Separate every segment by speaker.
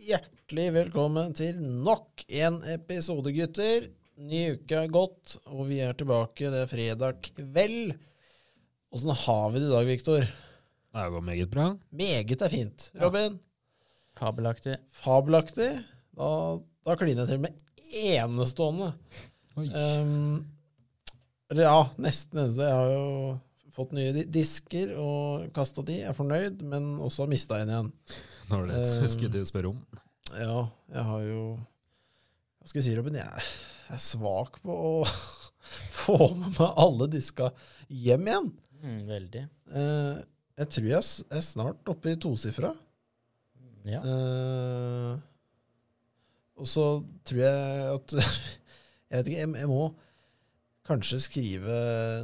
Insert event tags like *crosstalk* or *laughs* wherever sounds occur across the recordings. Speaker 1: Hjertelig velkommen til nok en episode, gutter. Ny uke er gått, og vi er tilbake. Det er fredag kveld. Åssen har vi det i dag, Viktor?
Speaker 2: Det går meget bra.
Speaker 1: Meget er fint. Robin?
Speaker 3: Fabelaktig.
Speaker 1: Fabelaktig. Da, da kliner jeg til med enestående.
Speaker 2: Eh,
Speaker 1: Ehm, eller ja, nesten eneste. Jeg har jo fått nye di- disker og kasta de. Jeg er fornøyd, men også har mista en igjen.
Speaker 2: Nå var det
Speaker 1: Eh,
Speaker 2: *laughs* et skudd å spørre om.
Speaker 1: Ja, jeg har jo Hva skal jeg si, Robin? Jeg er svak på å *laughs* få med meg alle diska hjem igjen.
Speaker 3: Mm, veldig.
Speaker 1: Eh, jeg tror jeg s- er snart oppe i tosifra.
Speaker 3: Ja.
Speaker 1: Eh, og så tror jeg at *laughs* Jeg vet ikke, jeg, jeg må kanskje skrive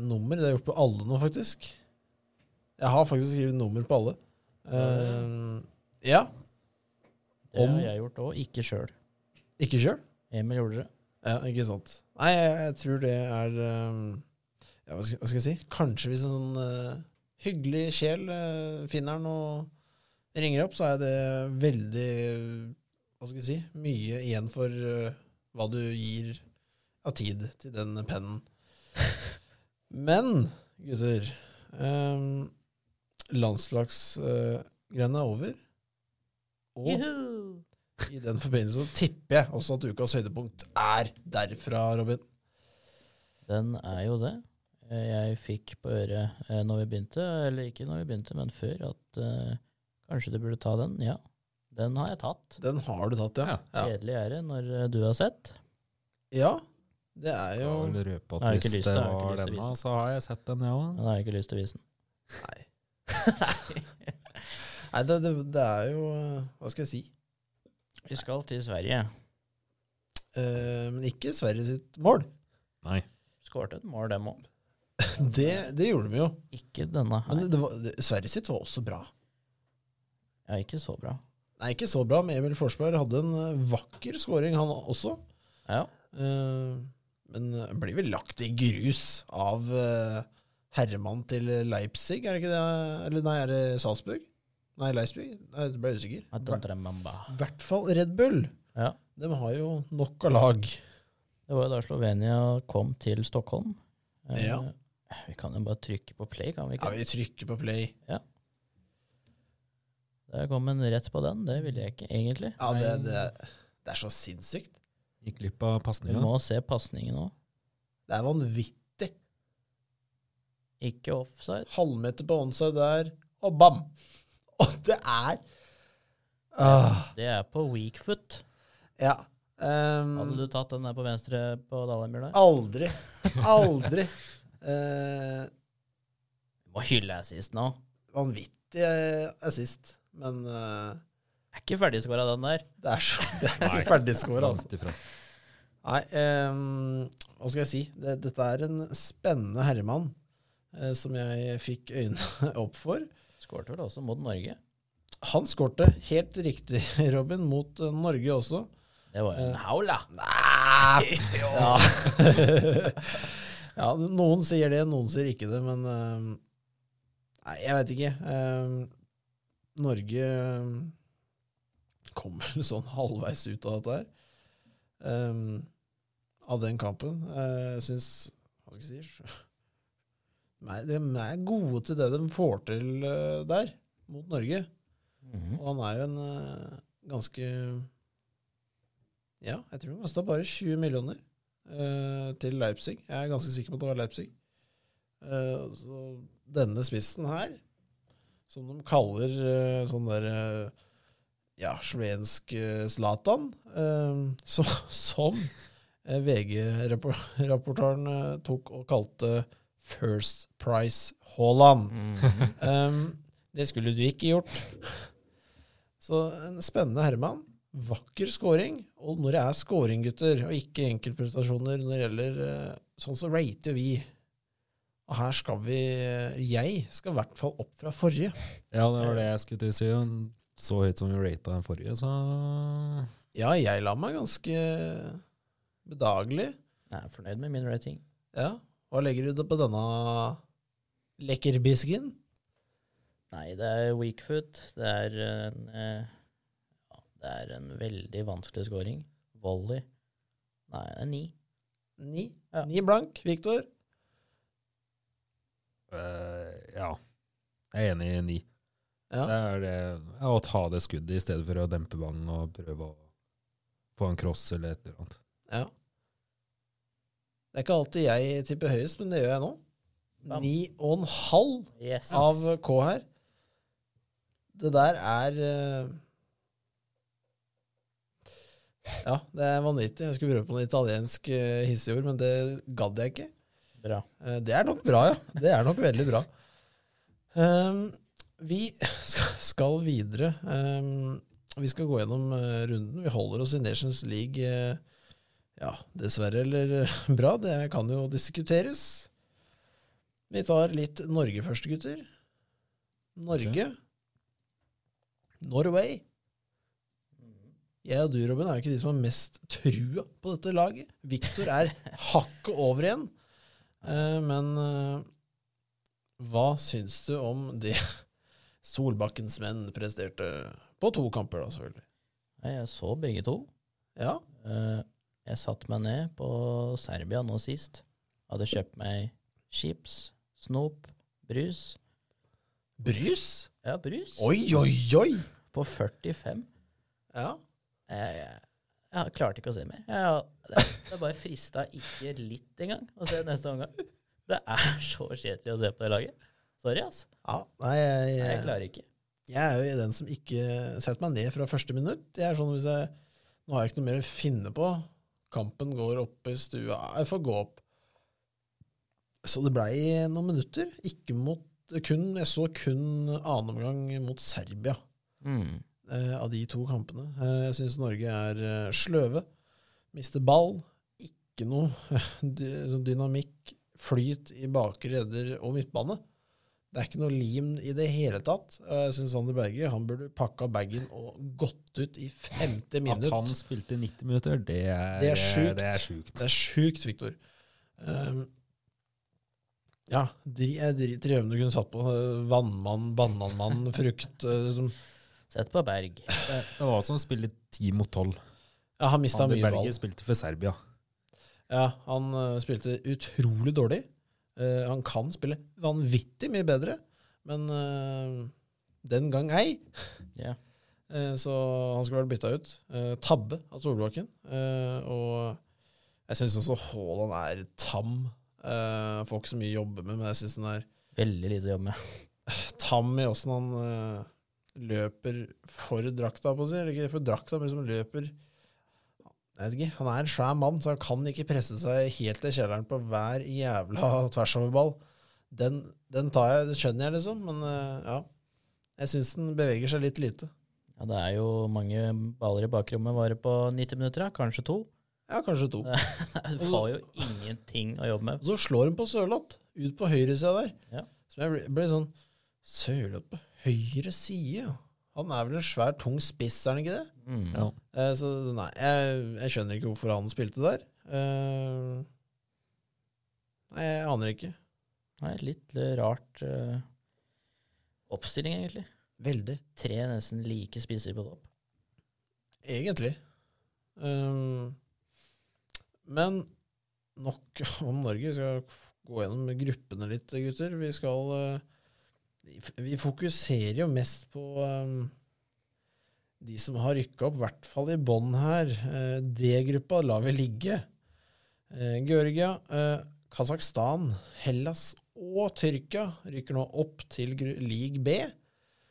Speaker 1: nummer. Det har jeg gjort på alle nå, faktisk. Jeg har faktisk skrevet nummer på alle. Eh, ja.
Speaker 3: Det
Speaker 1: om-
Speaker 3: har jeg gjort òg, ikke sjøl.
Speaker 1: Ikke sjøl.
Speaker 3: Emil gjorde det.
Speaker 1: Ja, ikke sant. Nei, jeg, jeg tror det er ehm, ja, hva, skal, hva skal jeg si? Kanskje hvis en sånn eh, hyggelig sjel eh, finner den og ringer opp, så er det veldig Hva skal jeg si? Mye igjen for eh, hva du gir av tid til den pennen. Men, gutter um, Landslagsgreiene er over. Og
Speaker 3: Juhu!
Speaker 1: i den forbindelse så tipper jeg også at ukas høydepunkt er derfra, Robin.
Speaker 3: Den er jo det. Eh, Jeg fikk på øret eh, når vi begynte, eller ikke når vi begynte, men før, at eh, kanskje du burde ta den. Ja, den har jeg tatt.
Speaker 1: Den har du tatt, ja. Ja,
Speaker 3: Kjedelig er det når eh, du har sett.
Speaker 1: ja det er jo
Speaker 2: Skal vel røpe
Speaker 3: Nei,
Speaker 2: at
Speaker 3: ikke
Speaker 2: hvis
Speaker 3: lyst,
Speaker 2: det
Speaker 3: jeg har ikke
Speaker 2: var
Speaker 3: lyst til å
Speaker 2: denne,
Speaker 3: vise
Speaker 2: så har jeg sett den, jeg òg.
Speaker 3: Men jeg har ikke lyst til å vise den.
Speaker 1: Nei. *laughs* Nei, det, det, det er jo eh, Hva skal jeg si?
Speaker 3: Vi skal til Sverige.
Speaker 1: Eh, men ikke Sverige sitt mål.
Speaker 2: Nei.
Speaker 3: Skårte et mål, dem òg.
Speaker 1: Det, det gjorde de jo.
Speaker 3: Ikke denne
Speaker 1: Men
Speaker 3: her.
Speaker 1: det, det var, det, Sverige sitt var også bra.
Speaker 3: Ja, ikke så bra.
Speaker 1: Nei, ikke så bra, men Emil Forsberg hadde en eh, vakker scoring, han også.
Speaker 3: Ja,
Speaker 1: Eh, men eh, blir vel lagt i grus av eh, herremannen til Leipzig, er det ikke det? Eller nei, er det Salzburg? Nei, Leipzig? Nei, det ble jeg usikker.
Speaker 3: at de tremmamba.
Speaker 1: I hvert fall Red Bull.
Speaker 3: Ja.
Speaker 1: De har jo nok av lag.
Speaker 3: Det var jo da Slovenia kom til Stockholm. Eh,
Speaker 1: Ja.
Speaker 3: Vi kan jo bare trykke på play, kan vi
Speaker 1: Ja,
Speaker 3: ikke?
Speaker 1: vi trykker på play.
Speaker 3: Der kom en rett på den. Det ville jeg ikke, egentlig.
Speaker 1: Ja, det, det, det er så sinnssykt.
Speaker 2: Gikk glipp av
Speaker 3: Du
Speaker 2: pasninga.
Speaker 3: må se pasningen òg.
Speaker 1: Det er vanvittig.
Speaker 3: Ikke offside.
Speaker 1: Halvmeter på onside der, og bam! *laughs* Og det er ah,
Speaker 3: Det er på weak foot.
Speaker 1: Ja. Um,
Speaker 3: Hadde du tatt den der på venstre på Dalheimjøla?
Speaker 1: Aldri. Aldri. Eh,
Speaker 3: Du Må hylle assist nå.
Speaker 1: vanvittig eh, assist, men eh,
Speaker 3: Er ikke ferdigskåra, den der.
Speaker 1: det er så *laughs* det er
Speaker 2: Nei.
Speaker 1: ikke ferdigscore, altså.
Speaker 2: Langt ifra.
Speaker 1: *laughs* Nei, ehm, hva skal jeg si? Det, dette er en spennende herremann eh, som jeg fikk øynene *laughs* opp for.
Speaker 3: Skårte vel også mot Norge.
Speaker 1: Han skårte helt riktig, *laughs* Robin, mot eh, Norge også.
Speaker 3: Det var jo en haula.
Speaker 1: Eh, Nei! Ja.
Speaker 3: *laughs*
Speaker 1: ja, noen sier det, noen sier ikke det, men ehm, Nei, jeg veit ikke. Ehm, Norge ehm, kom vel *laughs* sånn halvveis ut av dette her. ehm, av den kampen. Eh, Jeg syns Hva skal jeg si Nei, De er gode til det de får til eh, der, mot Norge.
Speaker 3: Mhm.
Speaker 1: Og han er jo en eh, ganske Ja, jeg tror han kosta bare 20 millioner eh, til Leipzig. Jeg er ganske sikker på at det var Leipzig. Eh, så denne spissen her, som de kaller eh, sånn der eh, ja, slovensk eh, Zlatan, eh, *laughs* så, som eh, VG-rapportøren eh, tok og kalte First Price Haaland.
Speaker 3: Mhm.
Speaker 1: Um, det skulle du ikke gjort. Så en spennende herremann. Vakker scoring. Og når det er scoring, gutter, og ikke enkeltprestasjoner når det gjelder eh, Sånn så rater vi. Og her skal vi Jeg skal i hvert fall opp fra forrige.
Speaker 2: Ja, det var det jeg skulle til å si. og Så høyt som vi rata den forrige, så
Speaker 1: Ja, jeg la meg ganske bedagelig.
Speaker 3: Jeg er fornøyd med min rating.
Speaker 1: Ja. Hva legger du på denne lekkerbisken?
Speaker 3: Nei, det er weak foot. Det er en eh, ja, Det er en veldig vanskelig scoring. Volley. Nei, det er ni.
Speaker 1: Ni.
Speaker 3: Ja.
Speaker 1: Ni blank, Viktor.
Speaker 2: Eh, ja. Jeg er enig i ni.
Speaker 1: Ja.
Speaker 2: Det er det ja, å ta det skuddet i stedet for å dempe ballen og prøve å få en cross eller et eller annet.
Speaker 1: ja. Det er ikke alltid jeg tipper høyest, men det gjør jeg nå.
Speaker 3: Bam.
Speaker 1: Ni og en halv
Speaker 3: Yes.
Speaker 1: av K her. Det der er eh, Ja, det er vanvittig. Jeg skulle prøve på noe italiensk eh, hisseord, men det gadd jeg ikke.
Speaker 3: Bra.
Speaker 1: Eh, Det er nok bra, ja. Det er nok veldig bra. Ehm, vi skal- skal videre. Ehm, vi skal gå gjennom eh, runden. Vi holder oss i Nations League, eh, ja, dessverre eller eh, bra. Det kan jo diskuteres. Vi tar litt Norge først, gutter. Norge. Norway. Jeg og du, Robin, er jo ikke de som har mest trua på dette laget. Viktor er hakket over igjen. Eh, men eh, hva syns du om det Solbakkens menn presterte på to kamper, da, selvfølgelig?
Speaker 3: Nei, Jeg så begge to.
Speaker 1: Ja,
Speaker 3: Eh, Jeg satte meg ned på Serbia nå sist. Hadde kjøpt meg chips, snop, brus.
Speaker 1: Brus?
Speaker 3: Ja, brus.
Speaker 1: Oi, oi, oi!
Speaker 3: På 45.
Speaker 1: Ja,
Speaker 3: Jeg, jeg, jeg klarte ikke å se mer. Jeg, det, det bare frista ikke litt engang å se neste omgang. Det er så kjedelig å se på det laget. Sorry, ass.
Speaker 1: ja nei, jeg,
Speaker 3: Nei, Jeg
Speaker 1: jeg,
Speaker 3: klarer ikke.
Speaker 1: jeg er jo den som ikke setter meg ned fra første minutt. Jeg er sånn hvis jeg, Nå har jeg ikke noe mer å finne på. Kampen går opp i stua. Jeg får gå opp. Så det blei noen minutter. Ikke mot kun, Jeg så kun annen omgang mot Serbia.
Speaker 3: Mm.
Speaker 1: eh, av de to kampene. Eh, jeg syns Norge er eh, sløve. Mister ball. Ikke noe *laughs* dy sånn dynamikk, flyt i bakre redder og midtbane. Det er ikke noe lim i det hele tatt. Eh, Jeg syns Sander Berge han burde pakka bagen og gått ut i femte minutt.
Speaker 2: At han spilte 90 minutter, det er,
Speaker 1: Det er sjukt.
Speaker 2: Det er sjukt.
Speaker 1: Det er sjukt, Viktor. ja, de er drit i øvne du kunne satt på. eh, Vannmann, bananmann, frukt eh, som,
Speaker 3: Sett på Berg.
Speaker 2: Det det var som å spille 10 mot 12.
Speaker 1: Ja, han mista
Speaker 2: Sander
Speaker 1: mye ball.
Speaker 2: Berge spilte for Serbia.
Speaker 1: Ja, han eh, spilte utrolig dårlig. Eh, han kan spille vanvittig mye bedre, men eh, den gang ei.
Speaker 3: Ja.
Speaker 1: Eh, så han skulle vært bytta ut. Eh, tabbe av Solbakken. Eh, og jeg syns også Haaland er tam. Eh, får ikke så mye å jobbe med, men jeg syns han er
Speaker 3: Veldig lite å jobbe med.
Speaker 1: tam i åssen han eh, løper for drakta, på å si. Eller ikke for drakta, men liksom løper Jeg vet ikke. Han er en svær mann, så han kan ikke presse seg helt til kjelleren på hver jævla tversoverball. Den, den tar jeg, det skjønner jeg, liksom, men eh, ja. Jeg syns den beveger seg litt lite.
Speaker 3: Ja, det er jo mange baller i bakrommet bare på 90 minutter, da. kanskje to. *laughs*
Speaker 1: Ja, kanskje to.
Speaker 3: Du får jo ingenting å
Speaker 1: Og
Speaker 3: jobbe med.
Speaker 1: så slår hun på Sørloth, ut på høyresida der.
Speaker 3: Ja.
Speaker 1: Så jeg ble, ble sånn Sørloth på høyre side? ja. Han er vel en svær, tung spiss, er han ikke det?
Speaker 3: Mm.
Speaker 2: Ja.
Speaker 1: Eh, Så nei, jeg, jeg skjønner ikke hvorfor han spilte der. Eh, nei, jeg aner ikke.
Speaker 3: Nei, litt eh, rart eh, oppstilling, egentlig.
Speaker 1: Veldig.
Speaker 3: Tre nesten like spisser på topp.
Speaker 1: Egentlig. Eh, men nok *laughs* om Norge. Vi skal f- gå gjennom gruppene litt, gutter. Vi skal eh, vi f- Vi fokuserer jo mest på eh, de som har rykka opp, i hvert fall i bånn her. Eh, D-gruppa lar vi ligge. Eh, Georgia, eh, Kasakhstan, Hellas og Tyrkia rykker nå opp til gru- league B.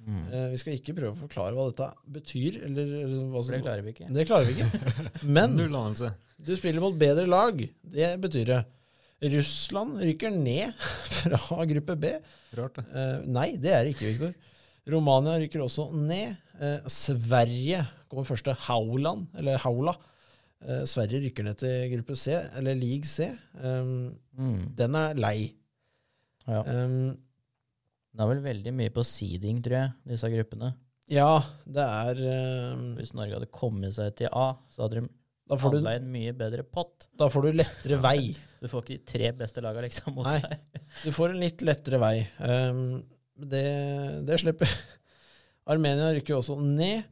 Speaker 3: Mm.
Speaker 1: Eh, vi skal ikke prøve å forklare hva dette betyr, eller eller hva
Speaker 3: For det
Speaker 1: som
Speaker 3: klarer vi ikke.
Speaker 1: Det klarer vi ikke. Men
Speaker 2: Null anelse.
Speaker 1: du spiller mot bedre lag. Det betyr det. Russland rykker ned *laughs* fra gruppe B.
Speaker 2: Rart, det.
Speaker 1: Eh, nei, det er det ikke, Viktor. Romania rykker også ned. Eh, Sverige kommer første. Hauland, eller Haula. Eh, Sverige rykker ned til gruppe C, eller league C. Um,
Speaker 3: Mm.
Speaker 1: den er lei.
Speaker 3: Ja.
Speaker 1: Um,
Speaker 3: Det er vel veldig mye på seeding, tror jeg, disse gruppene.
Speaker 1: ja, det er um,
Speaker 3: Hvis Norge hadde kommet seg til A, så hadde de
Speaker 1: da, får du,
Speaker 3: handla en mye bedre pott.
Speaker 1: da får du lettere vei.
Speaker 3: Du får ikke de tre beste laga liksom mot
Speaker 1: Nei.
Speaker 3: deg.
Speaker 1: Du får en litt lettere vei. Ehm, Um, det, det slipper. Armenia rykker jo også ned.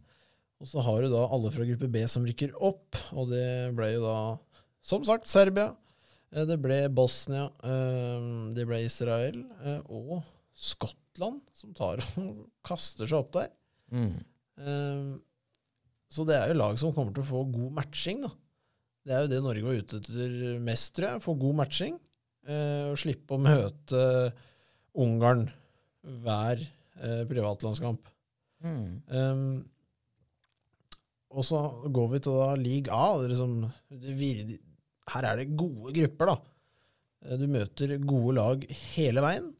Speaker 1: Og så har du da alle fra gruppe B som rykker opp, og det ble jo da, som sagt, Serbia. eh, Det ble Bosnia, eh, det ble Israel, eh, og Skottland som tar og *laughs* kaster seg opp der.
Speaker 3: Mm.
Speaker 1: Eh, Så det er jo lag som kommer til å få god matching, da. Det er jo det Norge var ute etter mest, tror jeg. Få god matching. eh, Og slippe å møte Ungarn hver eh, privatlandskamp.
Speaker 3: Mm.
Speaker 1: Ehm, og så går vi til da league A. Det er liksom, det vir- her er det gode grupper, da. Eh, Du møter gode lag hele veien.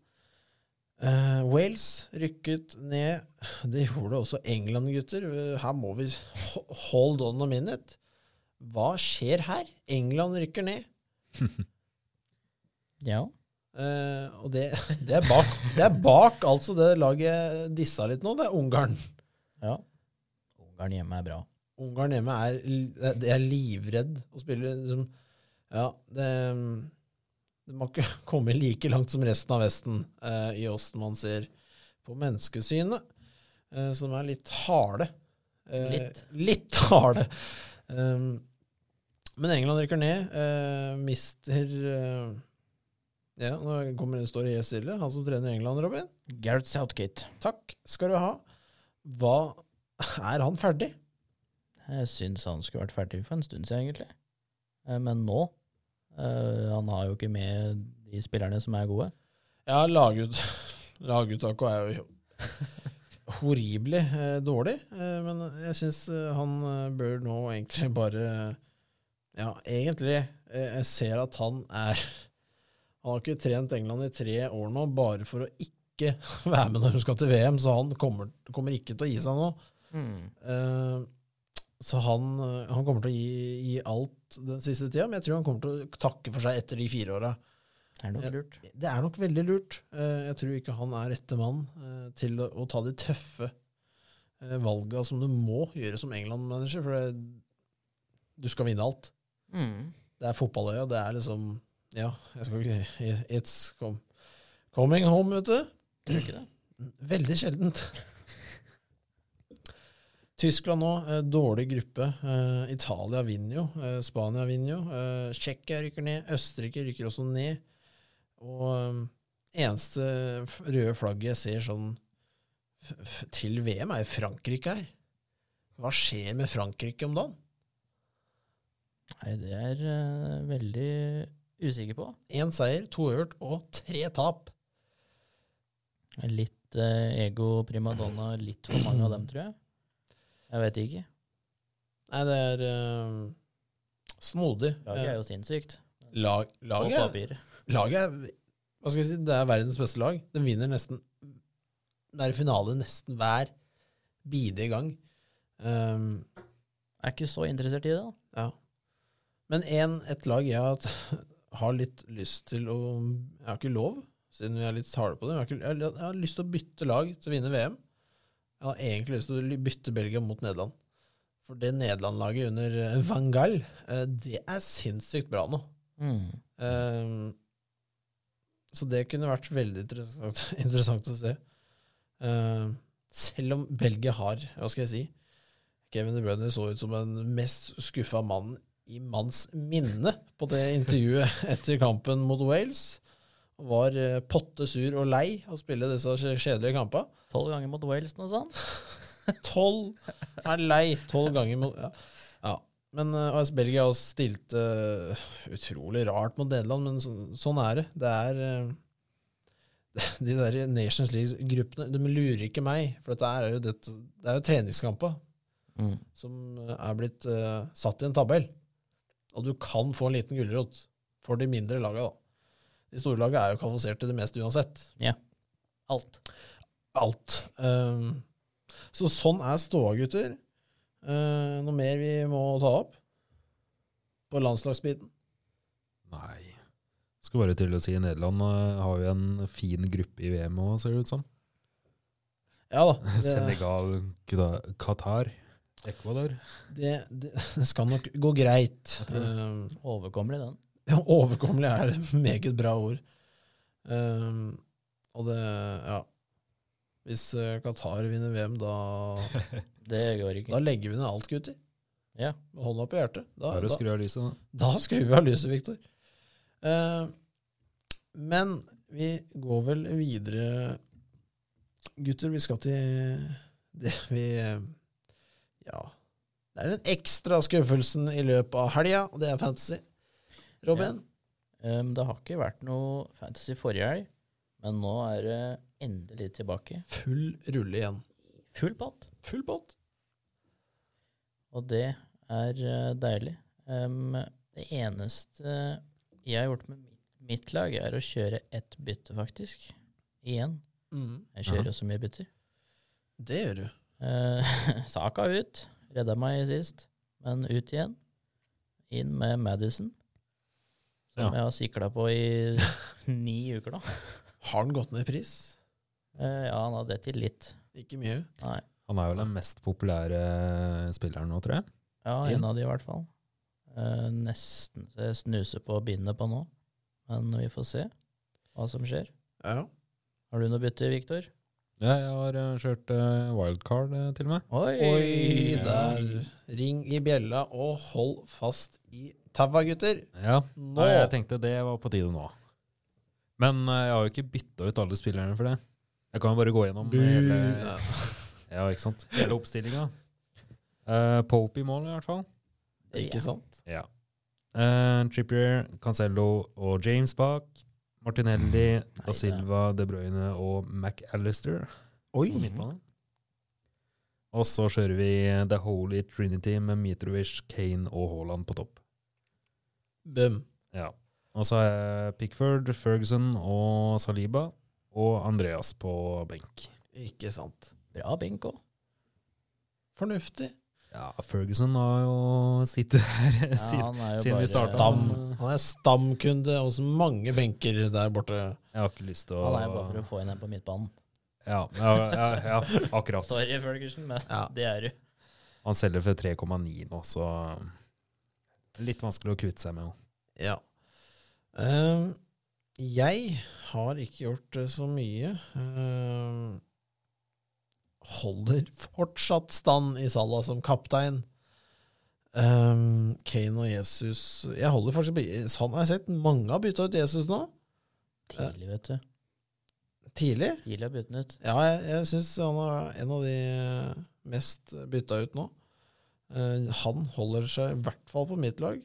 Speaker 1: Eh, Wales rykket ned. Det gjorde også England, gutter. Eh, Her må vi ho- hold on a minute. Hva skjer her? England rykker ned.
Speaker 3: Ja.
Speaker 1: Eh, og det, *laughs* det, er bak, det er bak altså det laget jeg dissa litt nå. Det er Ungarn.
Speaker 3: ja. Ungarn hjemme er bra.
Speaker 1: Ungarn hjemme er, li- det er livredd å spille liksom, Ja, det Du må ikke *laughs* komme like langt som resten av Vesten eh, i åssen man ser på menneskesynet, eh, som er litt harde. Eh,
Speaker 3: Litt.
Speaker 1: Litt *laughs* harde. Um, men England rykker ned. eh, mister eh, Ja, nå kommer, står det helt stille. Han som trener England, Robin.
Speaker 3: Gareth Southgate.
Speaker 1: Takk skal du ha. Hva *laughs* Er han ferdig?
Speaker 3: Jeg syns han skulle vært ferdig for en stund siden, egentlig. Eh, Men nå eh, Han har jo ikke med de spillerne som er gode.
Speaker 1: Ja, *laughs* lagut, laguttaket er jo horribelig eh, dårlig, eh, men jeg syns eh, han eh, bør nå egentlig bare Ja, egentlig. Eh, jeg ser at han er Han har ikke trent England i tre år nå bare for å ikke *laughs* være med når hun skal til VM, så han kommer, kommer ikke til å gi seg nå.
Speaker 3: Mm.
Speaker 1: Eh, så han, eh, han kommer til å gi, gi alt den siste tida, men jeg tror han kommer til å takke for seg etter de fire åra.
Speaker 3: Det er nok
Speaker 1: Ja.
Speaker 3: lurt.
Speaker 1: Det er nok veldig lurt. Eh, Jeg tror ikke han er rette mann eh, til å å ta de tøffe eh, valga som du må gjøre som England-manager, for det, du skal vinne alt.
Speaker 3: Mm.
Speaker 1: Det er fotballøya, det er liksom Ja, jeg skal ikke It's com- coming home, vet du.
Speaker 3: Tror du ikke det?
Speaker 1: Veldig sjeldent. Tyskland nå, eh, dårlig gruppe. Eh, Italia vinner jo. Eh, Spania vinner jo. Eh, Tsjekkia rykker ned. Østerrike rykker også ned. Og eh, eneste f- røde flagget jeg ser sånn f- f- til VM, er jo Frankrike her. Hva skjer med Frankrike om dagen?
Speaker 3: Nei, det er jeg veldig usikker på.
Speaker 1: Én seier, to øvert og tre tap.
Speaker 3: Litt eh, ego primadonna, litt for mange av dem, tror jeg. Jeg vet ikke.
Speaker 1: Nei, det er eh, snodig.
Speaker 3: Laget er
Speaker 1: Eh,
Speaker 3: jo sinnssykt.
Speaker 1: Lag,
Speaker 3: På
Speaker 1: laget
Speaker 3: papir.
Speaker 1: Laget er hva skal jeg si, det er verdens beste lag. Den vinner nesten Det er i finale nesten hver bidige gang. Um,
Speaker 3: Jeg er ikke så interessert i det, da.
Speaker 1: ja. Men en, et lag jeg har, hatt- har litt lyst til å Jeg har ikke lov, siden vi er litt harde på det. men Jeg har, ikke, jeg, jeg har lyst til å bytte lag til å vinne VM. Jeg har egentlig lyst til å bytte Belgia mot Nederland. For det Nederland-laget under eh, Van Gaal, eh, det er sinnssykt bra nå. Ehm, så det kunne vært veldig interessant, *laughs* interessant å se. Ehm, selv om Belgia har, hva skal jeg si Kevin De Bruyne så ut som den mest skuffa mannen i manns minne på det intervjuet *laughs* etter kampen mot Wales. Og Var eh, potte sur og lei av å spille disse kje- kjedelige kampene.
Speaker 3: Tolv ganger mot Wales, noe sånt.
Speaker 1: Tolv er lei. Tolv ganger mot Ja. ja. Men eh, AS Belgia har stilt eh, utrolig rart mot Nederland, men så, sånn er det. Det er eh, *laughs* De der Nations League-gruppene De lurer ikke meg, for dette er jo, dette, det er jo treningskamper som er blitt eh, satt i en tabell. Og du kan få en liten gulrot for de mindre laga, da. De store laga er jo kvalifisert til det meste uansett
Speaker 3: Alt.
Speaker 1: alt. Ehm, så sånn er ståa, gutter. Eh, noe mer vi må ta opp på landslagsbiten?
Speaker 2: Nei. Skal bare til å si Nederland eh, har jo en fin gruppe i VM òg, ser det ut som. *laughs*
Speaker 1: Ja da. Det,
Speaker 2: Senegal, Kuta- Qatar, Ecuador.
Speaker 1: det, det, det skal nok gå greit.
Speaker 2: Jeg tror det.
Speaker 1: Ehm, *laughs*
Speaker 3: Overkommelig, den.
Speaker 1: overkommelig er et meget bra ord. Ehm, og det Ja. Hvis eh, Qatar vinner VM,
Speaker 2: *laughs*
Speaker 1: da,
Speaker 3: Det går
Speaker 1: da
Speaker 3: ikke.
Speaker 1: legger vi ned alt, gutter.
Speaker 3: Ja.
Speaker 1: Med Hånda på hjertet. Da,
Speaker 2: Bare å
Speaker 1: da,
Speaker 2: skru av lyset, da.
Speaker 1: da skrur vi av lyset, Viktor. Eh, men vi går vel videre, gutter. Vi skal til det vi eh, Ja. Det er den ekstra skuffelsen i løpet av helga, og det er fantasy. Robin?
Speaker 3: Ehm, det har ikke vært noe fantasy forrige helg, men nå er det endelig tilbake.
Speaker 1: Full rulle igjen.
Speaker 3: Full pott,
Speaker 1: Full pott.
Speaker 3: og det er eh, deilig. Ehm, det eneste jeg har gjort med mitt, mitt lag, er å kjøre ett bytte, faktisk. Igjen. Jeg kjører
Speaker 2: Ja.
Speaker 3: jo så mye bytter.
Speaker 1: Mm. Det gjør du.
Speaker 3: Eh, *laughs* saka ut. Redda meg sist, men ut igjen. Inn med Madison, som
Speaker 2: Ja.
Speaker 3: jeg har sikla på i *laughs* ni uker nå.
Speaker 1: Har den gått ned i pris?
Speaker 3: Eh, ja, han har dett i litt.
Speaker 1: Ikke mye.
Speaker 3: Nei.
Speaker 2: Han er vel den mest populære eh, spilleren nå, tror jeg.
Speaker 3: Ja,
Speaker 2: Inn.
Speaker 3: en av de i hvert fall. Eh, nesten så jeg snuser på bindet på nå, men vi får se hva som skjer.
Speaker 1: Ja.
Speaker 3: Har du noe bytte, Viktor?
Speaker 2: Ja, jeg har eh, kjørt eh, wildcard eh, til og med.
Speaker 3: Oi!
Speaker 1: Oi,
Speaker 2: Ja.
Speaker 1: der. Ring i bjella og hold fast i taua, gutter.
Speaker 2: Ja.
Speaker 1: Nå.
Speaker 2: Nei, jeg tenkte det var på tide nå. Men eh, jeg har jo ikke bytta ut alle spillerne for det. Jeg kan jo bare gå gjennom
Speaker 1: Bu-
Speaker 2: hele,
Speaker 1: Ja.
Speaker 2: ja, ikke sant? hele oppstillinga. Eh, Pope i mål, i hvert fall.
Speaker 1: Ikke sant?
Speaker 2: Ja. Eh, Trippier, Cancello og James bak.
Speaker 3: *laughs*
Speaker 2: Martinelli, Da
Speaker 3: det- Mhm.
Speaker 2: Silva, De Bruyne og McAllister
Speaker 1: Oi.
Speaker 2: på midtbanen. Og så kjører vi The Holy Trinity med Mitrovic, Kane og Haaland på topp.
Speaker 1: Bum.
Speaker 2: Ja. Og så har jeg Pickford, Ferguson og Saliba og Andreas på benk.
Speaker 1: Ikke sant.
Speaker 3: Bra benk òg.
Speaker 1: Fornuftig.
Speaker 2: Ja, Ferguson har jo sittet her *laughs* siden siden vi startet.
Speaker 1: Eh, Stam. Han er stamkunde hos mange benker der borte.
Speaker 2: Jeg har ikke lyst til å
Speaker 3: Han er jo bare for å få inn en på midtbanen.
Speaker 2: ja, ja, ja, ja,
Speaker 3: *laughs*
Speaker 2: akkurat.
Speaker 3: Sorry, Ferguson, men
Speaker 1: Ja.
Speaker 3: det er du.
Speaker 2: Han selger for 3,9 nå, så litt vanskelig å kvitte seg med.
Speaker 1: Ja. Ehm, jeg har ikke gjort eh, så mye. Ehm, holder fortsatt stand i Salah som kaptein. Ehm, Kane og Jesus Jeg holder fortsatt Sånn har jeg sett. Mange har bytta ut Jesus nå.
Speaker 3: Tidlig, vet du.
Speaker 1: Tidlig.
Speaker 3: Tidlig å bytte den ut.
Speaker 1: Ja, jeg, jeg syns han er en av de mest bytta ut nå. Eh, han holder seg i hvert fall på mitt lag.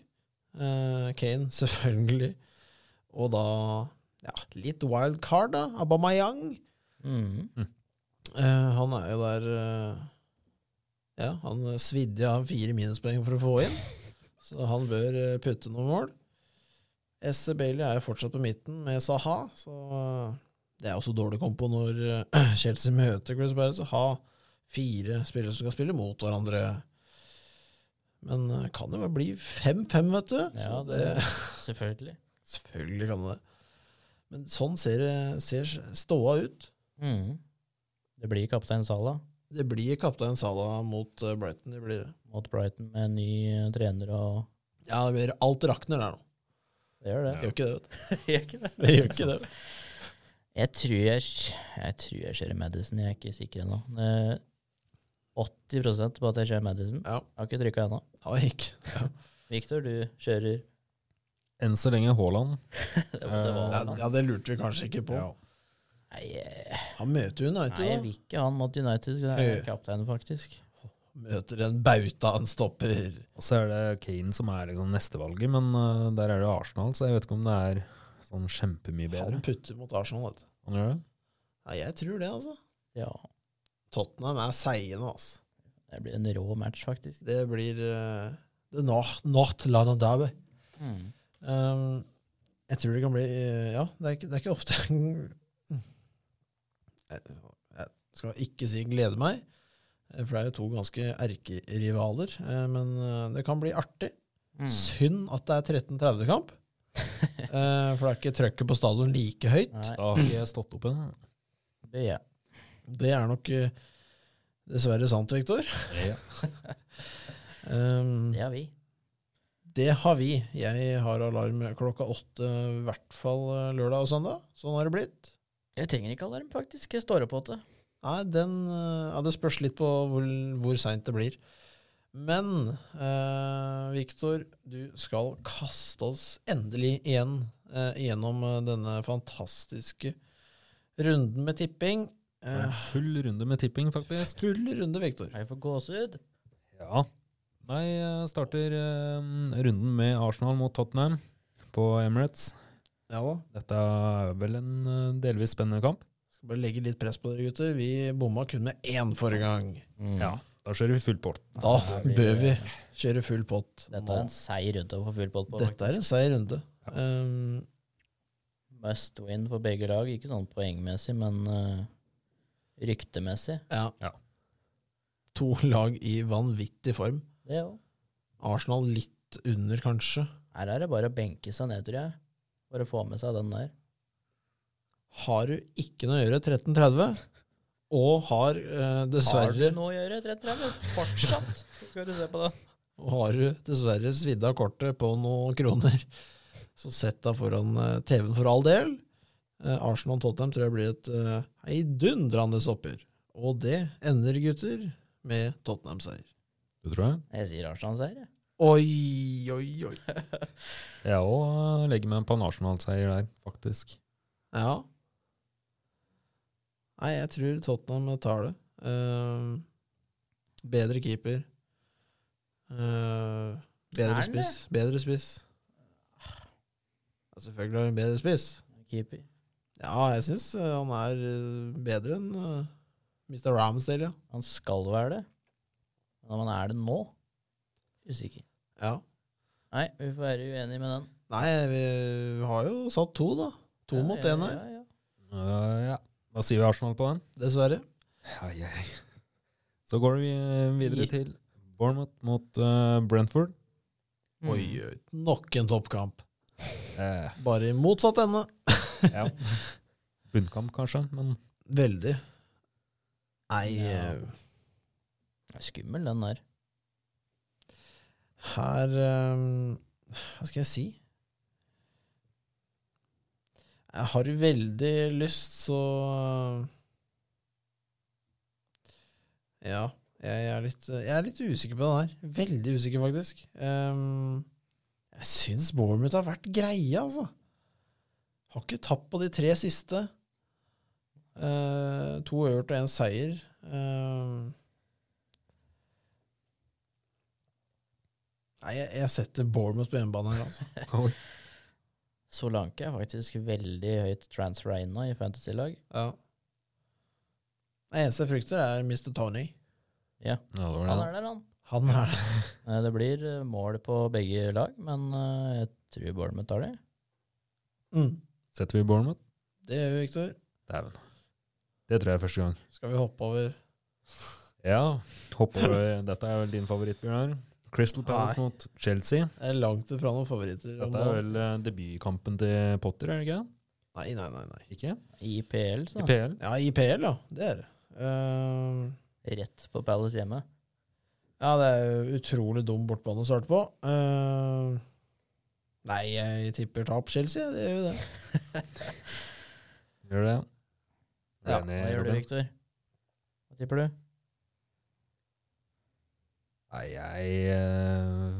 Speaker 1: Eh, Kane, *laughs* selvfølgelig. Og da ja, litt wild card, da. Abamayang.
Speaker 3: Mhm.
Speaker 1: Eh, han er jo der eh, Ja, han svidde av fire minuspoeng for å få inn, så han bør eh, putte noen mål. SC Bailey er jo fortsatt på midten med Saha, så eh, det er også dårlig kompo når eh, *clears throat* Chelsea møter Chris Barrett. Så ha fire spillere som skal spille mot hverandre. Men eh, kan det vel bli 5-5, vet du.
Speaker 3: Ja,
Speaker 1: så det, *laughs*
Speaker 3: det- Selvfølgelig.
Speaker 1: selvfølgelig kan det det. Men sånn ser, det- ser ståa ut.
Speaker 3: Mhm. Det blir kaptein Salah
Speaker 1: Det blir kaptein Sala mot eh, Brighton. Det blir det.
Speaker 3: mot Brighton med ny eh, trener og
Speaker 1: Ja, det blir alt rakner der nå.
Speaker 3: Det gjør det.
Speaker 1: Gjør ikke det, vet du.
Speaker 3: Gjør ikke det. *laughs*
Speaker 1: Det gjør ikke det.
Speaker 3: Jeg tror jeg, jeg tror jeg kjører Madison, jeg er ikke sikker ennå. Eh, 80 på at jeg kjører Madison.
Speaker 1: Ja.
Speaker 3: Jeg har ikke trykka ennå.
Speaker 1: Har jeg ikke.
Speaker 3: Victor, du kjører *laughs*
Speaker 2: Enn så lenge Haaland.
Speaker 3: det var, det var
Speaker 1: Ja,
Speaker 3: han.
Speaker 1: ja, det lurte vi kanskje ikke på.
Speaker 2: Ja.
Speaker 3: Nei, eh,
Speaker 1: Han møter jo
Speaker 3: nei, jeg
Speaker 1: United,
Speaker 3: vil ikke ha han mot United. så Jeg er kapteinen, faktisk.
Speaker 1: da. Møter en bauta, en stopper.
Speaker 2: Og så er det Kane som er liksom nestevalget, men eh, der er det Arsenal, så jeg vet ikke om det er sånn kjempemye bedre.
Speaker 1: Han putter mot Arsenal, vet du.
Speaker 2: Han gjør det?
Speaker 1: Ja, jeg tror det, altså.
Speaker 3: Ja,
Speaker 1: Tottenham er seige nå, altså.
Speaker 3: det blir en rå match, faktisk.
Speaker 1: Det blir uh, The North, North London Derby.
Speaker 3: Mm.
Speaker 1: Um, jeg tror det kan bli eh, Ja, det er ikke, det er ikke ofte *laughs* jeg, jeg skal ikke si glede meg, eh, for det er jo to ganske erkerivaler. eh, Men eh, det kan bli artig.
Speaker 3: Mm.
Speaker 1: Synd at det er
Speaker 3: *laughs*
Speaker 1: 13.30-kamp, eh, for det er ikke trøkket på stadion like høyt.
Speaker 3: Nei,
Speaker 2: Da har ikke jeg stått opp ennå.
Speaker 3: det gjør jeg.
Speaker 1: Mm. Det er nok eh, dessverre sant, Viktor.
Speaker 2: Ja.
Speaker 1: Um,
Speaker 3: Det har vi.
Speaker 1: Det har vi. Jeg har alarm klokka åtte, i hvert fall eh, lørdag og søndag. Sånn har det blitt.
Speaker 3: Jeg trenger ikke alarm, faktisk. Jeg står opp åtte.
Speaker 1: Nei, den eh, ja, Det spørs litt på hvor, hvor seint det blir. Men eh, Viktor, du skal kaste oss endelig igjen eh, gjennom eh, denne fantastiske runden med tipping.
Speaker 2: Det er
Speaker 1: Eh,
Speaker 2: en Full runde med tipping, faktisk.
Speaker 1: full runde, Viktor.
Speaker 3: Jeg får gåsehud.
Speaker 2: Ja. Nei, jeg starter eh, runden med Arsenal mot Tottenham på Emirates.
Speaker 1: Ja da.
Speaker 2: Dette er vel en eh, delvis spennende kamp.
Speaker 1: Skal bare legge litt press på dere, gutter. Vi bomma kun med én forrige gang.
Speaker 2: Ja. Da kjører vi full port.
Speaker 1: Mm. Da
Speaker 3: Her blir
Speaker 1: bør vi
Speaker 3: det-
Speaker 1: kjøre full pott.
Speaker 3: Dette
Speaker 1: nå.
Speaker 3: er en seig runde å få full pott på.
Speaker 1: Dette er en seig runde.
Speaker 2: Ja.
Speaker 1: Um,
Speaker 3: Must win for begge lag. Ikke sånn poengmessig, men eh, ryktemessig.
Speaker 1: Ja.
Speaker 2: Ja.
Speaker 1: To lag i vanvittig form.
Speaker 3: Det òg.
Speaker 1: Arsenal litt under, kanskje.
Speaker 3: Her er det bare å benke seg ned, tror jeg. For å få med seg den der.
Speaker 1: Har du ikke noe å gjøre 13.30, og har eh,
Speaker 3: Har du
Speaker 1: dessverre
Speaker 3: noe å gjøre? 33? Fortsatt! Så skal du se på den.
Speaker 1: har du dessverre svidd av kortet på noen kroner. *laughs* Så sett deg foran eh, TV-en for all del. Eh, Arsenal-Tottenham tror jeg blir et eh, heidundrende oppgjør. Og det ender, gutter, med Tottenham-seier.
Speaker 2: Du tror jeg?
Speaker 3: Jeg sier Arsenal-seier, jeg.
Speaker 1: Oi, oi, oi.
Speaker 2: Jeg òg legger meg på en Arsenal-seier der, faktisk.
Speaker 1: Ja. Nei, jeg tror Tottenham tar det. Ehm, bedre keeper. Eh,
Speaker 3: Er
Speaker 1: bedre
Speaker 3: det?
Speaker 1: spiss. Bedre spiss. Ja, selvfølgelig har han bedre spiss.
Speaker 3: Keeper.
Speaker 1: Ja, jeg syns han er eh, bedre enn eh, Mr. Ramsdale, ja.
Speaker 3: Han skal være det. Men om han er det nå? Usikker.
Speaker 1: ja.
Speaker 3: Nei, vi får være uenige med den.
Speaker 1: Nei, vi har jo satt to, da. To
Speaker 3: Ja,
Speaker 1: mot
Speaker 3: ja,
Speaker 1: én her,
Speaker 3: ja, ja.
Speaker 2: Eh, ja. Da sier vi Arsenal på den.
Speaker 1: dessverre.
Speaker 2: Ai, ai. Så går vi eh, videre
Speaker 1: Ja.
Speaker 2: til Bournemouth mot eh, Brentford.
Speaker 3: Mm.
Speaker 1: Oi, oi. Nok en toppkamp.
Speaker 2: Eh,
Speaker 1: Bare i motsatt ende.
Speaker 2: ja. *laughs* Bunnkamp, kanskje, *laughs* men
Speaker 1: Veldig. Nei
Speaker 3: Ja.
Speaker 1: eh,
Speaker 3: Det er Skummel, den der.
Speaker 1: Her ehm, Hva skal jeg si? Jeg har veldig lyst, så eh, Ja, jeg er litt, eh, jeg er litt usikker på den her. Veldig usikker, faktisk. Ehm, jeg syns Bournemouth har vært greie, altså. Har ikke tapt på de tre siste. Eh, to øvert og én seier. Ehm, nei, jeg, jeg setter Bournemouth på hjemmebane her, altså.
Speaker 2: Oi.
Speaker 3: Solanke er faktisk veldig høyt transferina i fantasy-lag.
Speaker 1: Ja. Det eneste jeg frykter, er Mr. Tony.
Speaker 2: ja, det var
Speaker 3: Han
Speaker 2: det.
Speaker 3: er der, han.
Speaker 1: Han er
Speaker 3: Eh, Det blir eh, mål på begge lag, men eh, jeg tror Bournemouth tar det.
Speaker 1: mm,
Speaker 2: Setter vi Bournemouth?
Speaker 1: Det gjør vi, Viktor.
Speaker 2: Dæven. Det tror jeg er første gang.
Speaker 1: Skal vi hoppe over
Speaker 2: Ja, hopper over. Dette er vel din favoritt, Bjørnar. Crystal Palace
Speaker 1: Nei.
Speaker 2: mot Chelsea.
Speaker 1: Jeg er langt ifra noen favoritter. om
Speaker 2: Dette er
Speaker 1: dagen.
Speaker 2: vel eh, debutkampen til Potter, er det ikke?
Speaker 1: Nei, nei, nei. nei.
Speaker 2: Ikke?
Speaker 3: I PL,
Speaker 2: I
Speaker 3: så.
Speaker 2: PL?
Speaker 1: Ja, IPL, ja. Det er det. Ehm,
Speaker 3: Rett på Palace hjemme.
Speaker 1: ja, det er jo utrolig dum bortbane å starte på. Ehm, nei, jeg tipper tap Chelsea. Det gjør jo det.
Speaker 2: Gjør det.
Speaker 1: Ja,
Speaker 2: Enig,
Speaker 3: Hva gjør du,
Speaker 2: Robin?
Speaker 3: Viktor? Hva tipper du?
Speaker 2: Nei, jeg eh,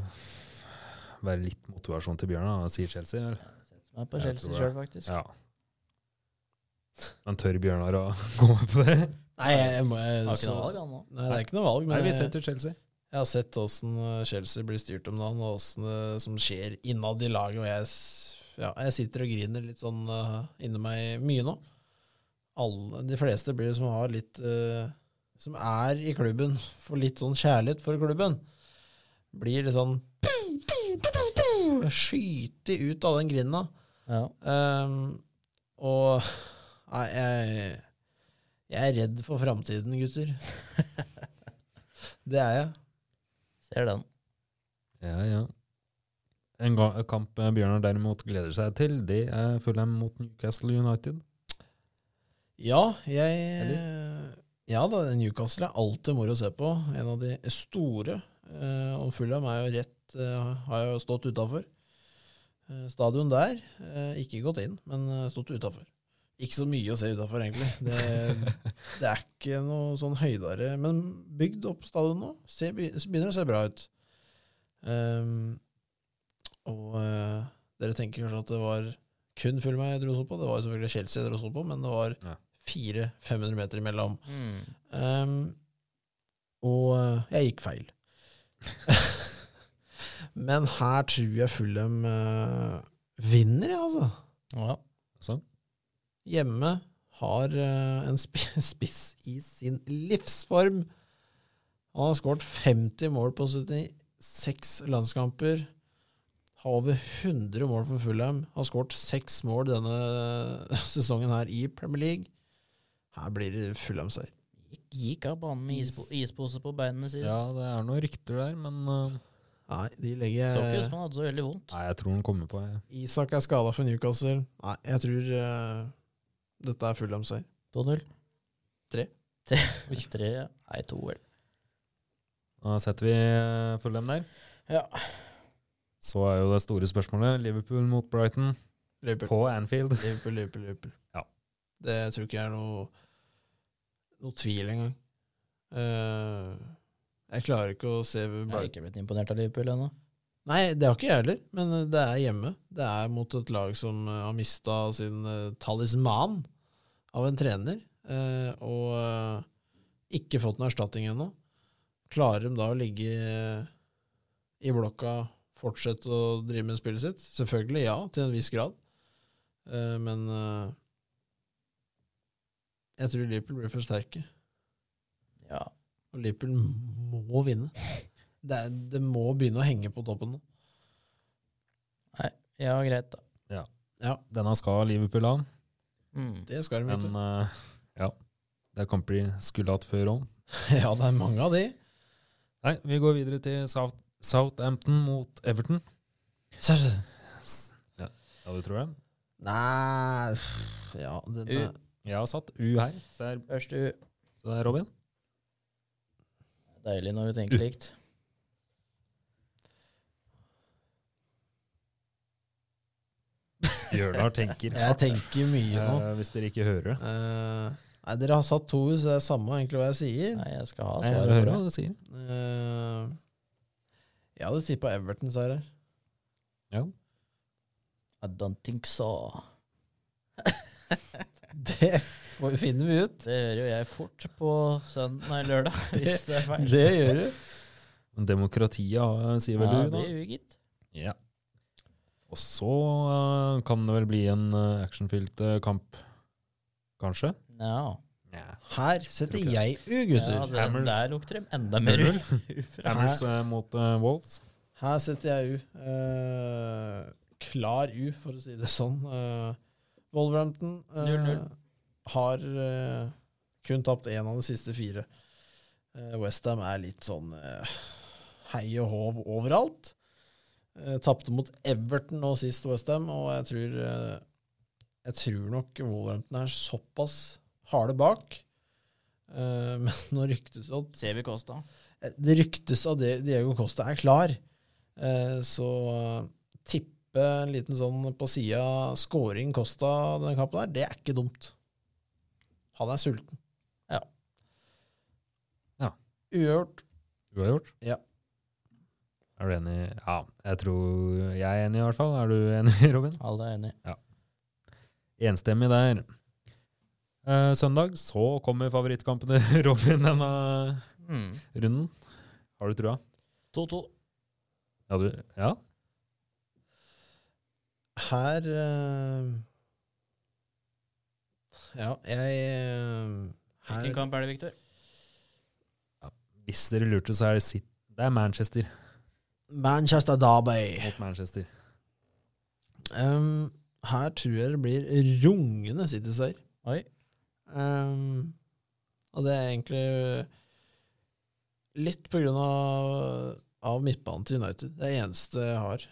Speaker 2: Være litt motivasjon til Bjørnar, da, sier Chelsea. Vel?
Speaker 3: Som er på
Speaker 2: Jeg
Speaker 3: Chelsea
Speaker 2: tror det.
Speaker 3: sjøl, faktisk.
Speaker 2: Ja. Men tør Bjørnar å *laughs* gå med på det?
Speaker 1: Nei, jeg må jeg,
Speaker 3: Har ikke
Speaker 1: så-
Speaker 3: noe valg, han nå.
Speaker 1: Nei, det er ikke noe valg.
Speaker 2: Nei,
Speaker 1: Men
Speaker 2: vi
Speaker 1: jeg,
Speaker 2: setter Chelsea.
Speaker 1: jeg har sett åssen eh, Chelsea blir styrt om dagen, og åssen det som skjer innad i laget. Og jeg, s- ja, jeg sitter og griner litt sånn eh, inni meg mye nå. Alle, de fleste blir som har litt eh, Som er i klubben, får litt sånn kjærlighet for klubben. Blir litt sånn Skyte ut av den grinda.
Speaker 3: Ja.
Speaker 1: Ehm, og Nei, jeg, jeg er redd for framtiden, gutter. Det er jeg.
Speaker 3: Ser den.
Speaker 2: Ja, ja. En ga- kamp eh, Bjørnar derimot gleder seg til, det er Fulham mot Newcastle United.
Speaker 1: Ja, jeg eh, Ja da, Newcastle er alltid moro å se på. En av de store. Eh, og Fulham er jo rett eh, Har jo stått utafor. Eh, stadion der. Eh, ikke gått inn, men eh, stått utafor. Ikke så mye å se utafor, egentlig. Det, det er ikke noe sånn høydere. Men bygd opp stadion nå ser, begynner å se bra ut. Ehm, og eh, dere tenker kanskje at det var kun Fulham jeg dro så på. Det var jo selvfølgelig Chelsea jeg dro så på, men det var
Speaker 2: Ja.
Speaker 1: 400-500 meter imellom.
Speaker 3: Mm.
Speaker 1: Ehm, og eh, jeg gikk feil. *laughs* Men her tror jeg Fulham eh, vinner, jeg, altså.
Speaker 3: Ja.
Speaker 2: Sånn.
Speaker 1: Hjemme har eh, en sp *laughs* spiss i sin livsform. Han har skåret 50 mål på 76 landskamper. Har over 100 mål for Fulham. Har skåret seks mål denne eh, *laughs* sesongen her i Premier League. Her blir det Fulham-seier.
Speaker 3: Gikk, gikk av banen med ispo, ispose på beinene sist.
Speaker 2: Ja, det er noen rykter der, men eh,
Speaker 1: Nei, de
Speaker 3: Så ikke ut
Speaker 1: legger
Speaker 3: som han hadde så veldig vondt.
Speaker 2: Nei, jeg tror den kommer på. Jeg.
Speaker 1: Isak er skada for Newcastle. Nei, jeg tror eh, dette er Fulham-seier.
Speaker 3: 2-0.
Speaker 1: Tre.
Speaker 3: Tre. Tre. Nei, to, vel.
Speaker 2: Da setter vi eh, Fulham der.
Speaker 3: Ja.
Speaker 2: Så er jo det store spørsmålet Liverpool mot Brighton
Speaker 1: Liverpool,
Speaker 2: på Anfield.
Speaker 1: Liverpool, Liverpool. Liverpool.
Speaker 2: Ja.
Speaker 1: Det tror ikke jeg er noe, noe tvil engang. Eh, jeg klarer ikke å se
Speaker 3: Jeg har
Speaker 1: Brighton
Speaker 3: ikke blitt imponert av Liverpool ennå.
Speaker 1: Nei, det har ikke jeg heller, men eh, det er hjemme. Det er mot et lag som eh, har mista sin eh, talisman av en trener, eh, og eh, ikke fått noen erstatning ennå. Klarer de da å ligge eh, i blokka, fortsette å drive med spillet sitt? Selvfølgelig ja, til en viss grad, Eh, men eh, jeg tror Liverpool blir for sterke.
Speaker 3: Ja.
Speaker 1: Og Liverpool må vinne. Det, er, det må begynne å henge på toppen nå.
Speaker 3: ja, greit, da.
Speaker 1: Ja,
Speaker 2: Denne skal Liverpool ha,
Speaker 3: Mm.
Speaker 1: det skal de, vet du.
Speaker 2: men eh, ja. Det kan bli skulle hatt før òg.
Speaker 1: *laughs* Ja, det er mange av de.
Speaker 2: Nei, vi går videre til South Southampton mot Everton. Ja, det tror jeg.
Speaker 1: Nei pff, Ja, den er,
Speaker 2: Jeg har satt U her. Så er,
Speaker 3: Først U.
Speaker 2: så er Robin.
Speaker 3: Deilig når vi tenker
Speaker 2: U.
Speaker 3: likt.
Speaker 2: Bjørnar tenker.
Speaker 1: *laughs* jeg tenker mye nå.
Speaker 2: Eh, hvis dere ikke hører det.
Speaker 1: Eh, nei, dere har satt to, så det er samme egentlig hva jeg sier.
Speaker 3: Nei, jeg skal ha
Speaker 2: Nei, jeg
Speaker 3: svaret
Speaker 2: hører
Speaker 3: for
Speaker 2: hva
Speaker 3: det.
Speaker 2: du sier.
Speaker 1: Eh, jeg hadde tippa Everton, sa jeg.
Speaker 3: I don't think so.
Speaker 1: Det får- finner vi ut.
Speaker 3: Det hører jo jeg fort på søndag, nei, *laughs* lørdag, hvis det er feil.
Speaker 1: Det gjør du.
Speaker 2: Men demokratiet har- sier vel
Speaker 3: ja,
Speaker 2: du, da?
Speaker 3: det gjør vi, gitt.
Speaker 2: Ja. Og så eh, kan det vel bli en eh, actionfylt eh, kamp, kanskje?
Speaker 3: Ja.
Speaker 2: Ja.
Speaker 1: Her setter
Speaker 2: Tror ikke
Speaker 1: jeg U,
Speaker 3: ja
Speaker 1: gutter.
Speaker 3: det,
Speaker 2: Hammers.
Speaker 3: der lukter det enda mer ull.
Speaker 2: Hammers eh, mot eh, Wolves.
Speaker 1: Her setter jeg U. Eh, klar U, for å si det sånn. Eh, Wolverhampton eh,
Speaker 3: 0-0.
Speaker 1: har eh, kun tapt én av de siste fire. Eh, West Westham er litt sånn eh, hei og håv overalt. Eh, Tapte mot Everton nå sist, Westham, og jeg tror, eh, jeg tror nok Wolverhampton er såpass harde bak. Eh, *laughs* men nå ryktes det at
Speaker 3: Ser vi Kosta.
Speaker 1: det ryktes av det Diego Costa er klar. Eh, Så tippe en liten sånn på sida scoring Costa denne kampen her, det er ikke dumt. Han er sulten.
Speaker 3: Ja.
Speaker 2: Ja.
Speaker 1: Uavgjort.
Speaker 2: Uavgjort?
Speaker 1: Ja.
Speaker 2: Er du enig? Ja, jeg tror jeg er enig, i hvert fall. Er du enig, *laughs* Robin?
Speaker 3: Alle er enige.
Speaker 2: Enstemmig der. Eh, søndag så kommer favorittkampen til *laughs* Robin denne
Speaker 3: Mm.
Speaker 2: runden. Har du trua?
Speaker 3: 2-2.
Speaker 2: Ja, du, ja?
Speaker 1: Her eh, Ja, jeg eh,
Speaker 3: Hvilken
Speaker 1: her,
Speaker 3: kamp er det, Victor?
Speaker 2: Hvis dere lurte, så er det, Sit- det er Manchester
Speaker 1: Manchester Derby.
Speaker 2: mot Manchester.
Speaker 1: Em, her tror jeg det blir rungende City-seier.
Speaker 3: Oi.
Speaker 1: Ehm, og det er egentlig litt på grunn av, av midtbanen til United. Det er det eneste jeg har.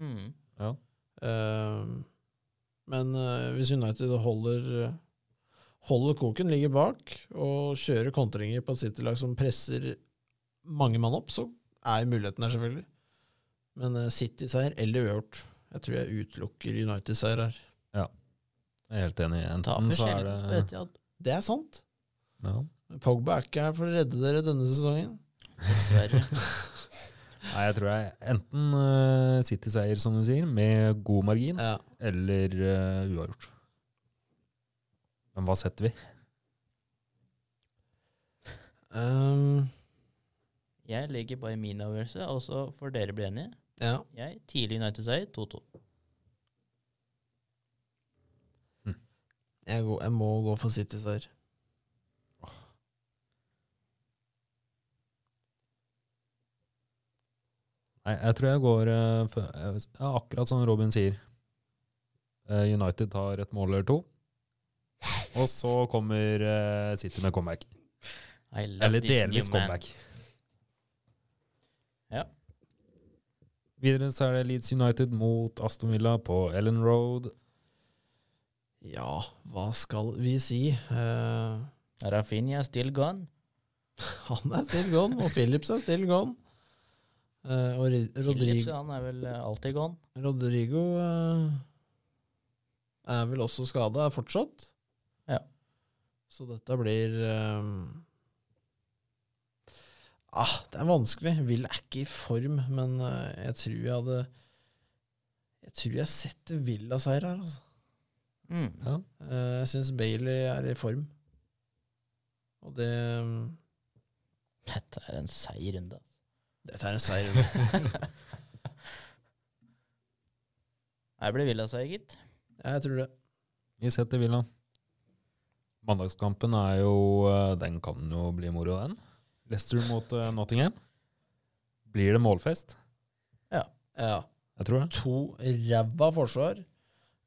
Speaker 3: Mm.
Speaker 1: Ehm, men eh, hvis United holder, holder koken, ligger bak og kjører kontringer på et City-lag som presser mange mann opp, så er muligheten der, selvfølgelig. Men eh, City-seier eller uavgjort. Jeg tror jeg utelukker United-seier her.
Speaker 2: Jeg er helt enig. Enten
Speaker 3: Taper
Speaker 2: så er
Speaker 3: sjelden på
Speaker 2: det
Speaker 3: Etihad.
Speaker 1: Det er sant.
Speaker 2: ja.
Speaker 1: Men Pogba er ikke her for å redde dere denne sesongen.
Speaker 3: Dessverre.
Speaker 2: Nei, jeg tror jeg enten eh, City-seier, som du sier, med god margin,
Speaker 1: Ja.
Speaker 2: eller eh, uavgjort. Men hva setter vi?
Speaker 1: Ehm,
Speaker 3: Jeg legger bare min avgjørelse, og så får dere bli enige.
Speaker 1: ja.
Speaker 3: Jeg tidlig United-seier 2-2.
Speaker 1: Jeg, går, jeg må gå for City seier.
Speaker 2: Nei, jeg tror jeg går eh, for, eh, ja, akkurat som Robin sier. Eh, United tar et mål eller to. Og så kommer eh, City med comeback.
Speaker 3: I love
Speaker 2: Eller
Speaker 3: this new
Speaker 2: delvis
Speaker 3: man.
Speaker 2: comeback.
Speaker 3: Ja.
Speaker 2: Videre så er det Leeds United mot Aston Villa på Ellen Road.
Speaker 1: Ja, hva skal vi si? Eh,
Speaker 3: Rafinha still gone.
Speaker 1: han er still gone, og Phillips er still gone. Eh, og Ri-
Speaker 3: Phillips
Speaker 1: Rodrigo,
Speaker 3: han er vel eh, alltid gone.
Speaker 1: Rodrigo eh, er vel også skada fortsatt.
Speaker 3: Ja.
Speaker 1: Så dette blir eh, ah, Det er vanskelig. Will er ikke i form, men eh, jeg tror jeg hadde Jeg tror jeg setter Villa-seier her, altså.
Speaker 3: Mm.
Speaker 2: Ja.
Speaker 1: Eh, Jeg syns Bailey er i form. Og det
Speaker 3: Dette er en seig runde. altså.
Speaker 1: Dette er en seier.
Speaker 3: *laughs* Her blir Villa-seier, gitt.
Speaker 1: Ja, Jeg tror det.
Speaker 2: Vi setter Villa. Mandagskampen er jo eh, Den kan jo bli moro, den. Leicester mot eh, Nottingham. Blir det målfest?
Speaker 1: Ja.
Speaker 2: Jeg tror det.
Speaker 1: To ræva forsvar.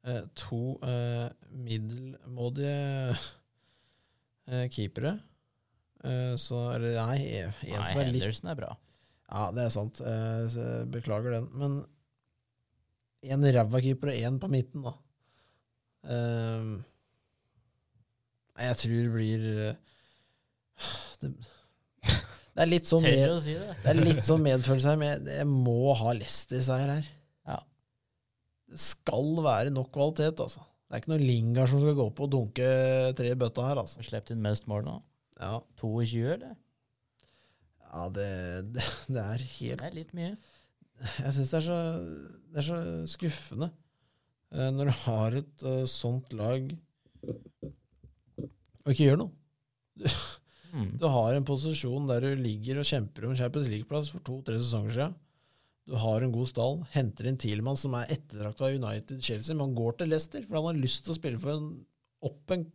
Speaker 1: eh, To eh, middelmådige eh, keepere. Eh, så Eller nei, en
Speaker 3: Nei,
Speaker 1: som er litt
Speaker 3: Henderson er bra.
Speaker 1: Ja, det er sant. Eh, så jeg beklager den. Men én ræva keeper og én på midten, da. Eh, nei, jeg tror det blir eh, *sighs* det, det er litt sånn
Speaker 3: Tør
Speaker 1: med,
Speaker 3: å si det.
Speaker 1: det er litt sånn medfølelse her, men jeg, jeg må ha Leicester-seier her.
Speaker 3: Ja.
Speaker 1: Det skal være nok kvalitet, altså. Det er ikke noen Lingard som skal gå opp og dunke tre i bøtta her, altså.
Speaker 3: Har sluppet inn mest mål nå.
Speaker 1: Ja,
Speaker 3: 22, eller?
Speaker 1: ja det, *laughs* det, det er helt
Speaker 3: Det er litt mye.
Speaker 1: Jeg syns det, er så- det er så skuffende eh, når du har et eh, sånt lag og ikke gjør noe.
Speaker 3: Mm.
Speaker 1: Du har en posisjon der du ligger og kjemper om Champions League-plass for to-tre sesonger siden. Du har en god stall, henter inn Thielmann, som er ettertrakta av United Chelsea, men han går til Leicester, for han har lyst til å spille for en up and,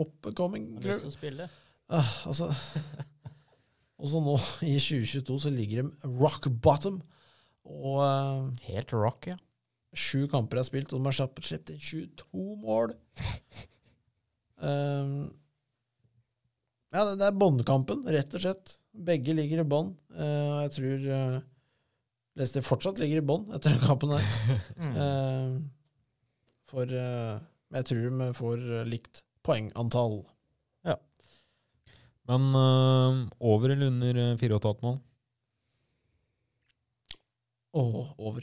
Speaker 1: up and coming
Speaker 3: Har
Speaker 1: klubb.
Speaker 3: lyst til å spille.
Speaker 1: Ah, altså *laughs* Og så nå, i 2022, så ligger de rock bottom. Og eh,
Speaker 3: Helt rock, ja.
Speaker 1: Sju kamper er spilt, og de har slapp- sluppet inn 22 mål. Ehm, ja, det, det er båndkampen, rett og slett. Begge ligger i bånd. Eh, og jeg tror eh, Leicester fortsatt ligger i bånd etter den kampen der.
Speaker 3: *laughs* Mm.
Speaker 1: Ehm, for eh, Men jeg tror de får eh, likt poengantall.
Speaker 2: Men eh, over eller under eh, 4,5 mål?
Speaker 1: Og over.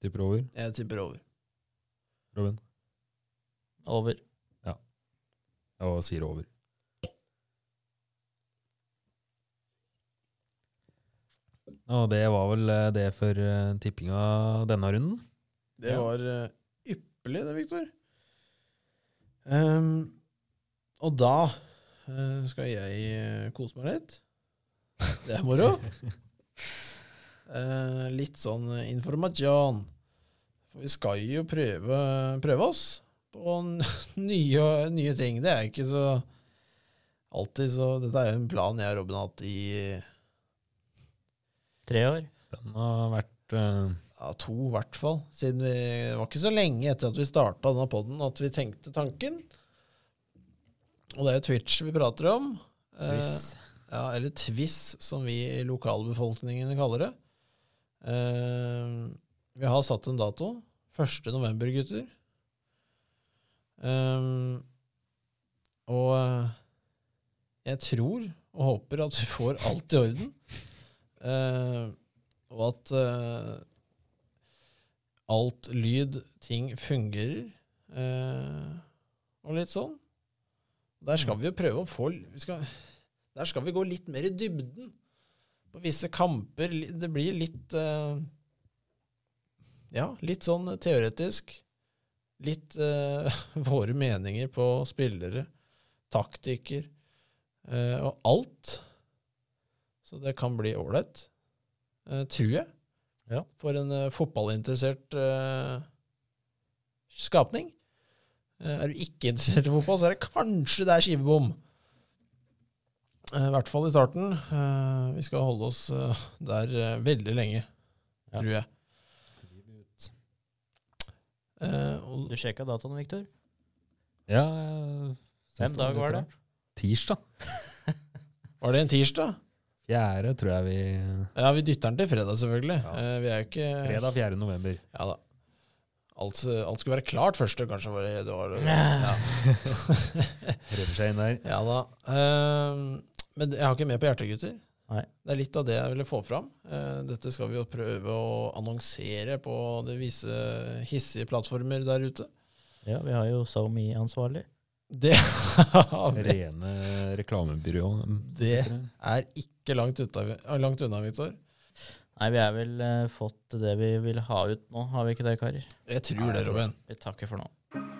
Speaker 2: Tipper over,
Speaker 1: Jeg tipper over.
Speaker 2: Robin.
Speaker 3: Over.
Speaker 2: Og sier over. Og det var vel eh, det for eh, tippinga denne runden.
Speaker 1: Det
Speaker 2: Ja.
Speaker 1: var eh, ypperlig, det, Viktor. Ehm, og da eh, skal jeg eh, kose meg litt. Det er moro. Eh, litt sånn eh, informasjon. For vi skal jo prøve, prøve oss på n- *laughs* nye, nye ting. Det er ikke så alltid så Dette er jo en plan jeg og Robin har hatt i
Speaker 3: Tre år.
Speaker 2: Den har vært eh,
Speaker 1: Ja, to i hvert fall. Siden vi det var ikke så lenge etter at vi starta denne poden at vi tenkte tanken. Og det er jo Twitch vi prater om. Eh,
Speaker 2: Twiss.
Speaker 1: ja, eller Twiss, som vi i lokalbefolkningen kaller det. Eh, vi har satt en dato. 1. november, gutter. Eh, og eh, jeg tror og håper at vi får alt i orden. Eh, og at eh, alt lyd, ting fungerer. Eh, og litt sånn. Der skal vi jo prøve å få vi skal, Der skal vi gå litt mer i dybden på visse kamper. Li- Det blir litt eh, Ja, litt sånn teoretisk. Litt eh, *laughs* våre meninger på spillere, taktikker eh, og alt. Så det kan bli ålreit, eh, tror jeg.
Speaker 2: Ja.
Speaker 1: For en eh, fotballinteressert eh, skapning. Eh, Er du ikke interessert i fotball, så er det kanskje det er skivebom. Eh, I hvert fall i starten. Eh, Vi skal holde oss eh, der eh, veldig lenge,
Speaker 2: Ja.
Speaker 1: tror jeg. Eh, og-
Speaker 3: Du sjekka datoen, Viktor?
Speaker 2: Ja, jeg syns
Speaker 3: Hvem dag var det?
Speaker 2: litt rart. Tirsdag.
Speaker 1: Var det en tirsdag?
Speaker 2: Fjerde, tror jeg vi
Speaker 1: Ja, vi dytter den til fredag, selvfølgelig.
Speaker 2: Ja.
Speaker 1: Eh, Vi er jo ikke
Speaker 2: Fredag 4. november.
Speaker 1: Ja da. Alt, alt skulle være klart første, kanskje. Var det, det var,
Speaker 3: Ja.
Speaker 2: Redder seg inn der.
Speaker 1: Ja da. Ehm, men jeg har ikke med på hjertegutter.
Speaker 3: Nei.
Speaker 1: Det er litt av det jeg ville få fram. Eh, dette skal vi jo prøve å annonsere på de visse hissige plattformer der ute.
Speaker 3: ja, vi har jo SoMe-ansvarlig.
Speaker 1: Det *laughs* har vi.
Speaker 2: Rene reklamebyrå. som
Speaker 1: Det-
Speaker 2: sitter her.
Speaker 1: er ikke langt, uta, langt unna, Viktor.
Speaker 3: Nei, vi er vel eh, fått det vi vil ha ut nå, har vi ikke det, karer?
Speaker 1: Jeg tror det, Robin.
Speaker 3: Vi takker for nå.